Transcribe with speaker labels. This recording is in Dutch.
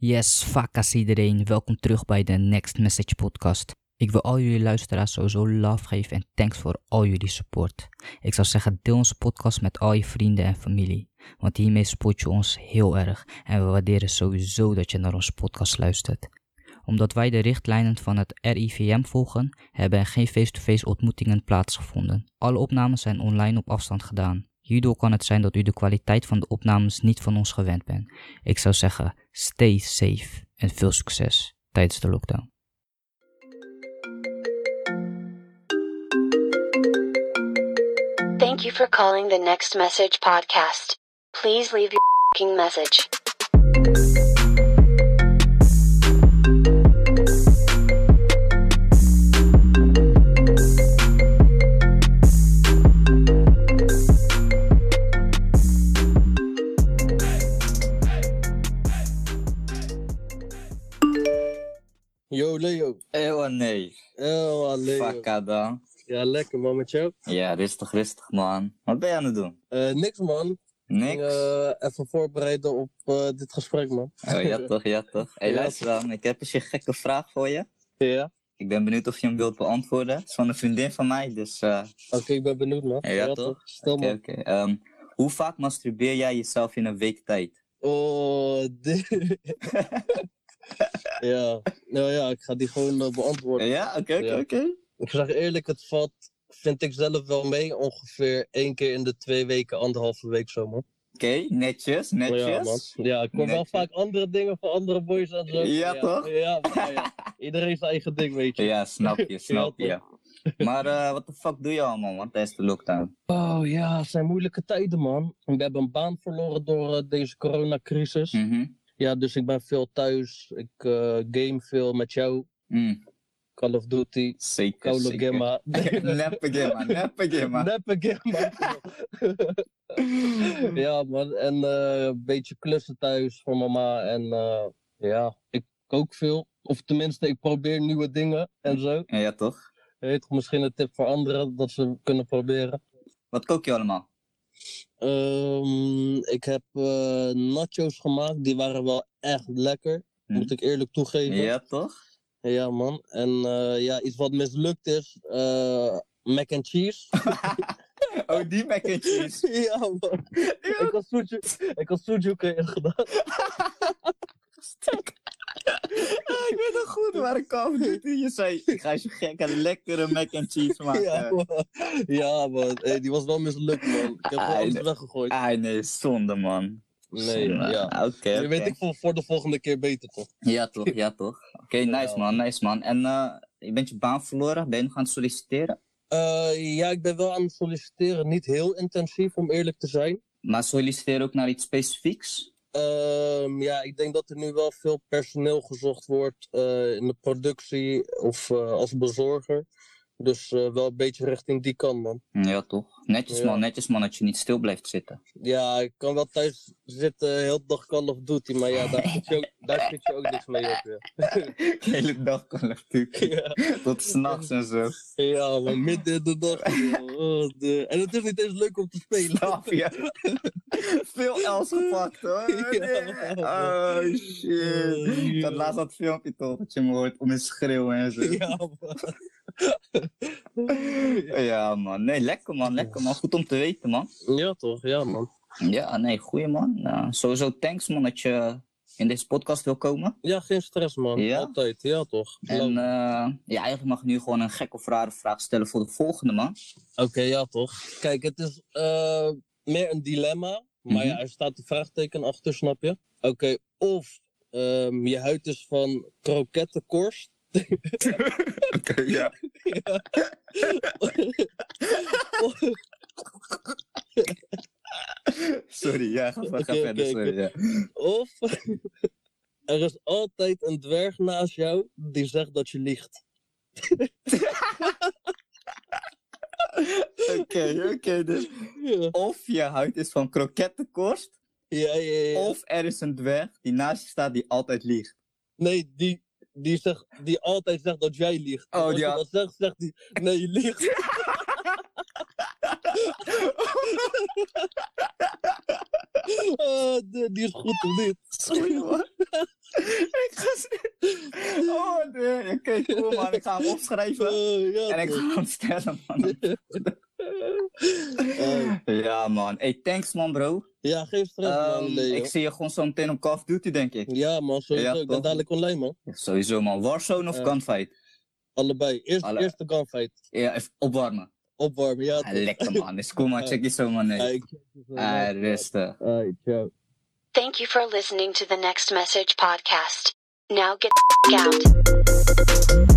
Speaker 1: Yes, vakkas iedereen. Welkom terug bij de Next Message podcast. Ik wil al jullie luisteraars sowieso love geven en thanks voor al jullie support. Ik zou zeggen, deel onze podcast met al je vrienden en familie. Want hiermee support je ons heel erg en we waarderen sowieso dat je naar onze podcast luistert. Omdat wij de richtlijnen van het RIVM volgen, hebben er geen face-to-face ontmoetingen plaatsgevonden. Alle opnames zijn online op afstand gedaan. Hierdoor kan het zijn dat u de kwaliteit van de opnames niet van ons gewend bent. Ik zou zeggen, stay safe en veel succes tijdens de lockdown.
Speaker 2: Thank you for calling the Next Message podcast. Please leave your fing message.
Speaker 3: Yo Leo.
Speaker 1: Ewa nee,
Speaker 3: Oh, Leo.
Speaker 1: fakka dan.
Speaker 3: Ja, lekker man met jou.
Speaker 1: Ja, rustig, rustig man. Wat ben je aan het doen?
Speaker 3: Eh, niks man.
Speaker 1: Niks.
Speaker 3: Eh, even voorbereiden op eh, dit gesprek man.
Speaker 1: Oh, ja toch, ja toch. Hey,
Speaker 3: Ja,
Speaker 1: luister dan, ik heb eens een gekke vraag voor je.
Speaker 3: Ja.
Speaker 1: Ik ben benieuwd of je hem wilt beantwoorden. Het is van een vriendin van mij, dus... eh,
Speaker 3: Oké, ik ben benieuwd man.
Speaker 1: Ja, toch?
Speaker 3: Stel
Speaker 1: Oké,
Speaker 3: man.
Speaker 1: oké. Ehm, hoe vaak masturbeer jij jezelf in een week tijd?
Speaker 3: Oh, dit. ja. Nou ja, ik ga die gewoon eh, beantwoorden.
Speaker 1: Ja, oké, oké,
Speaker 3: Ja.
Speaker 1: oké.
Speaker 3: Ik zeg eerlijk, het valt, vind ik zelf wel mee, ongeveer één keer in de twee weken, anderhalve week zo man.
Speaker 1: Oké, netjes,
Speaker 3: Oh Ja, man.
Speaker 1: netjes.
Speaker 3: Ja, ik kom wel
Speaker 1: Netjes.
Speaker 3: vaak andere dingen van andere boys en zo.
Speaker 1: Ja, toch?
Speaker 3: Ja, maar ja. Iedereen zijn eigen ding, weet je.
Speaker 1: Ja, snap je, snap je. Maar eh wat de fuck doe je allemaal, man, tijdens de lockdown?
Speaker 3: Oh ja, het zijn moeilijke tijden, man. We hebben een baan verloren door eh, deze coronacrisis.
Speaker 1: Mhm.
Speaker 3: Ja, dus ik ben veel thuis. Ik eh, game veel met jou.
Speaker 1: Mm,
Speaker 3: Call of Duty,
Speaker 1: zeker,
Speaker 3: Call of
Speaker 1: zeker.
Speaker 3: Gamma.
Speaker 1: Neppe gamma, neppe gamma.
Speaker 3: Neppe Gamma. ja, man. En eh, een beetje klussen thuis voor mama. En eh, ja, ik kook veel. Of tenminste, ik probeer nieuwe dingen en zo.
Speaker 1: Ja, toch?
Speaker 3: Je Weet toch, misschien een tip voor anderen dat ze kunnen proberen.
Speaker 1: Wat kook je allemaal?
Speaker 3: Ehm, ik heb eh, nachos gemaakt. Die waren wel echt lekker.
Speaker 1: Hm.
Speaker 3: Moet ik eerlijk toegeven.
Speaker 1: Ja, toch?
Speaker 3: Ja, man. En eh, ja, iets wat mislukt is. eh, mac and cheese.
Speaker 1: Oh, die mac and cheese.
Speaker 3: ja, man. Ik had sujuk, ik had sujuk erin gedaan.
Speaker 1: Ah, ik weet nog goed waar ik kwam. Je zei, ik ga je gek een lekkere mac and cheese maken.
Speaker 3: Ja, man. Ja, man. Hey, die was wel mislukt, man. Ik heb
Speaker 1: Ah,
Speaker 3: gewoon alles
Speaker 1: nee.
Speaker 3: weggegooid.
Speaker 1: Ah, nee, zonde, man.
Speaker 3: Nee,
Speaker 1: Zonde.
Speaker 3: ja.
Speaker 1: Ah, Oké,
Speaker 3: Nu
Speaker 1: oké.
Speaker 3: weet ik voor, voor de volgende keer beter, toch?
Speaker 1: Ja, toch, ja, toch. Oké, nice, man, nice, man. En eh, je bent je baan verloren. Ben je nog aan het solliciteren?
Speaker 3: Eh, ja, ik ben wel aan het solliciteren. Niet heel intensief, om eerlijk te zijn.
Speaker 1: Maar solliciteren ook naar iets specifieks?
Speaker 3: Ehm, ja, ik denk dat er nu wel veel personeel gezocht wordt eh, in de productie of eh, als bezorger. Dus eh, wel een beetje richting die kant, man.
Speaker 1: Mm, Ja, toch. Netjes,
Speaker 3: Ja.
Speaker 1: man, netjes, man, dat je niet stil blijft zitten.
Speaker 3: Ja, ik kan wel thuis zitten, heel de dag Call of Duty, maar ja, daar schiet je ook, daar schiet je ook niks mee op. Ja,
Speaker 1: De hele dag kan natuurlijk.
Speaker 3: ja.
Speaker 1: Tot s'nachts en zo.
Speaker 3: ja maar midden in de dag. joh. Oh, de- En het is niet eens leuk om te spelen.
Speaker 1: Snap je? Veel else gepakt hoor.
Speaker 3: Ja. Oh,
Speaker 1: Oh shit. Ik had laatst dat filmpje toch dat je me hoort om eens schreeuwen en zo.
Speaker 3: Ja, man.
Speaker 1: Ja man, nee lekker man, lekker man. Goed om te weten man.
Speaker 3: ja, toch? Ja, man.
Speaker 1: Ja, nee, goeie man. Nou, sowieso thanks man dat je in deze podcast wil komen.
Speaker 3: Ja, geen stress, man.
Speaker 1: Ja?
Speaker 3: Altijd. Ja, toch?
Speaker 1: En eh, ja, eigenlijk mag ik nu gewoon een gek of rare vraag stellen voor de volgende man.
Speaker 3: Oké, ja toch. Kijk, het is eh, meer een dilemma. Maar
Speaker 1: Mhm.
Speaker 3: ja, er staat een vraagteken achter, snap je? Oké, of ehm, je huid is van krokettenkorst.
Speaker 1: Oké, ja. Sorry, ja, ga,
Speaker 3: Oké, oké,
Speaker 1: sorry, ja.
Speaker 3: Of er is altijd een dwerg naast jou die zegt dat je liegt.
Speaker 1: Oké, oké, dus
Speaker 3: Ja,
Speaker 1: of je huid is van krokettenkorst,
Speaker 3: ja, ja. ja.
Speaker 1: of er is een dwerg die naast je staat die altijd liegt.
Speaker 3: Nee, die, die, zegt, die altijd zegt dat jij liegt.
Speaker 1: Oh,
Speaker 3: Als
Speaker 1: die
Speaker 3: je
Speaker 1: al-
Speaker 3: dat zegt, zegt hij, nee, je liegt. Ah, die, die is goed of niet?
Speaker 1: Sorry hoor. Oh, hey, cool man, ik ga hem opschrijven.
Speaker 3: Eh, ja,
Speaker 1: En ik
Speaker 3: toch.
Speaker 1: ga hem stellen, man.
Speaker 3: Eh,
Speaker 1: Ja, man. Hey, thanks, man, bro.
Speaker 3: ja, geen stress, man.
Speaker 1: Ehm,
Speaker 3: Nee,
Speaker 1: ik
Speaker 3: joh.
Speaker 1: zie je gewoon zo meteen op Call of Duty, denk ik.
Speaker 3: Ja, man, sowieso.
Speaker 1: Ja,
Speaker 3: ik
Speaker 1: toch?
Speaker 3: ben dadelijk online, man.
Speaker 1: Sowieso, man. Warzone of
Speaker 3: Ja.
Speaker 1: gunfight?
Speaker 3: Allebei. Eerst,
Speaker 1: Alle-
Speaker 3: eerst de gunfight.
Speaker 1: Ja, even opwarmen.
Speaker 3: Opwarmen, ja.
Speaker 1: Ah, lekker, man. Is cool, man. Check je zo, man. Hey.
Speaker 3: Hey,
Speaker 1: Ah, rustig.
Speaker 3: Hey, ciao.
Speaker 2: Thank you for listening to the Next Message podcast. Now get the f- out.